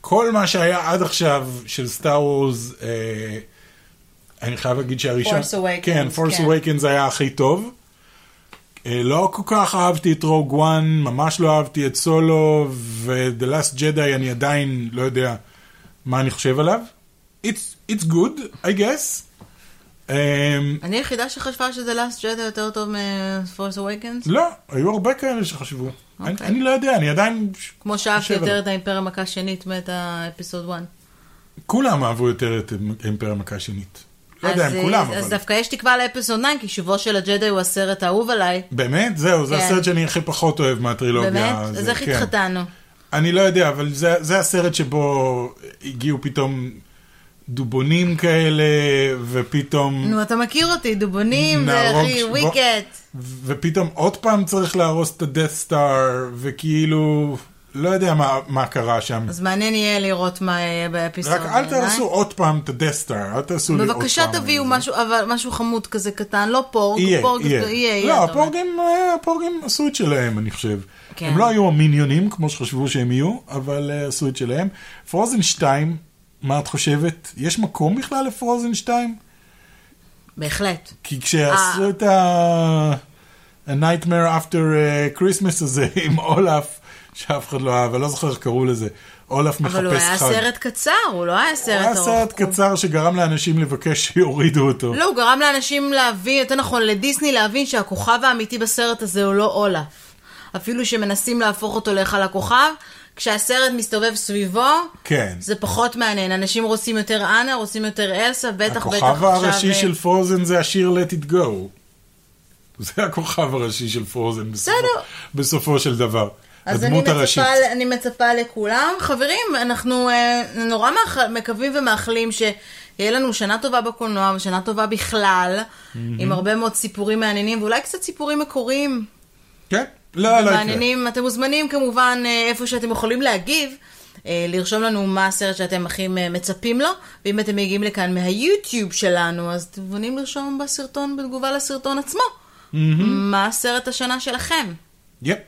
Speaker 2: כל מה שהיה עד עכשיו של סטאר וורס, אה, אני חייב להגיד שהראשון...
Speaker 1: Force Awakens,
Speaker 2: כן, Force
Speaker 1: כן.
Speaker 2: Awakens היה הכי טוב. אה, לא כל כך אהבתי את רוג וואן, ממש לא אהבתי את סולו, ו-The Last Jedi אני עדיין לא יודע מה אני חושב עליו. It's, it's good, I guess. אמ,
Speaker 1: אני היחידה שחשבה שזה Last Jedi יותר טוב מ-Force Awakens?
Speaker 2: לא, היו הרבה כאלה שחשבו. אני,
Speaker 1: אוקיי.
Speaker 2: אני לא יודע, אני עדיין...
Speaker 1: כמו שאהבתי
Speaker 2: חושב
Speaker 1: יותר
Speaker 2: עליו.
Speaker 1: את האימפריה מכה שנית מאת האפיסוד 1.
Speaker 2: כולם אהבו יותר את אמ, אימפריה מכה שנית. לא יודע אם כולם, אבל...
Speaker 1: אז דווקא יש תקווה לאפיסוד 9, כי שובו של הג'די הוא הסרט האהוב עליי.
Speaker 2: באמת? זהו, זה
Speaker 1: כן.
Speaker 2: הסרט שאני הכי פחות אוהב מהטרילוגיה.
Speaker 1: באמת?
Speaker 2: לא, זה-
Speaker 1: אז איך
Speaker 2: כן.
Speaker 1: התחתנו?
Speaker 2: אני לא יודע, אבל זה, זה הסרט שבו הגיעו פתאום דובונים כאלה, ופתאום...
Speaker 1: נו, אתה מכיר אותי, דובונים, זה
Speaker 2: נהרוג
Speaker 1: הכי
Speaker 2: ש- בוא-
Speaker 1: וויקט.
Speaker 2: ופתאום עוד פעם צריך להרוס את ה-Death Star, וכאילו... לא יודע מה, מה קרה שם.
Speaker 1: אז מעניין יהיה לראות מה יהיה באפיסוד.
Speaker 2: רק אל
Speaker 1: בעיניי.
Speaker 2: תעשו עוד פעם את הדסטאר, אל תעשו לי עוד פעם.
Speaker 1: בבקשה
Speaker 2: את
Speaker 1: תביאו
Speaker 2: זה.
Speaker 1: משהו, אבל משהו חמוד כזה קטן, לא פורג,
Speaker 2: יהיה,
Speaker 1: פורג,
Speaker 2: יהיה.
Speaker 1: יהיה, יהיה,
Speaker 2: לא,
Speaker 1: אתה אומר.
Speaker 2: הפורגים, אה, הפורגים עשו את שלהם, אני חושב.
Speaker 1: כן.
Speaker 2: הם לא היו המיניונים, כמו שחשבו שהם יהיו, אבל אה, עשו את שלהם. פרוזן 2, מה את חושבת? יש מקום בכלל לפרוזן 2?
Speaker 1: בהחלט.
Speaker 2: כי
Speaker 1: אה.
Speaker 2: כשעשו את ה... A Nightmare After אה, Christmas הזה [laughs] עם אולף, שאף אחד לא אהב, אני לא זוכר איך קראו לזה. אולף מחפש חג.
Speaker 1: אבל הוא היה סרט קצר, הוא לא היה סרט
Speaker 2: הוא היה
Speaker 1: ארוך.
Speaker 2: סרט קצר שגרם לאנשים לבקש שיורידו אותו.
Speaker 1: לא, הוא גרם לאנשים להבין, יותר נכון, לדיסני להבין שהכוכב האמיתי בסרט הזה הוא לא אולף. אפילו שמנסים להפוך אותו להיכל הכוכב, כשהסרט מסתובב סביבו,
Speaker 2: כן.
Speaker 1: זה פחות מעניין. אנשים רוצים יותר אנה, רוצים יותר אלסה, בטח, בטח עכשיו...
Speaker 2: הכוכב הראשי
Speaker 1: אה,
Speaker 2: של פרוזן זה השיר Let It Go. זה הכוכב הראשי של פרוזן בסופו-
Speaker 1: בסדר.
Speaker 2: בסופו של דבר.
Speaker 1: אז אני
Speaker 2: הדמות הראשית.
Speaker 1: מצפה, אני מצפה לכולם. חברים, אנחנו אה, נורא מאח... מקווים ומאחלים שיהיה לנו שנה טובה בקולנוע ושנה טובה בכלל, mm-hmm. עם הרבה מאוד סיפורים מעניינים, ואולי קצת סיפורים מקוריים.
Speaker 2: כן? לא, לא יקרה.
Speaker 1: מעניינים, אתם מוזמנים כמובן אה, איפה שאתם יכולים להגיב, אה, לרשום לנו מה הסרט שאתם הכי אה, מצפים לו, ואם אתם מגיעים לכאן מהיוטיוב שלנו, אז אתם מוזמנים לרשום בסרטון, בתגובה לסרטון עצמו, מה הסרט השנה שלכם.
Speaker 2: יפ.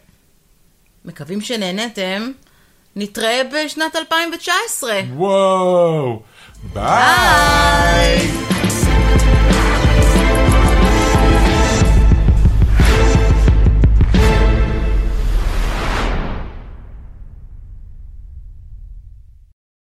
Speaker 1: מקווים שנהנתם, נתראה בשנת 2019.
Speaker 2: וואו. ביי.
Speaker 1: ביי!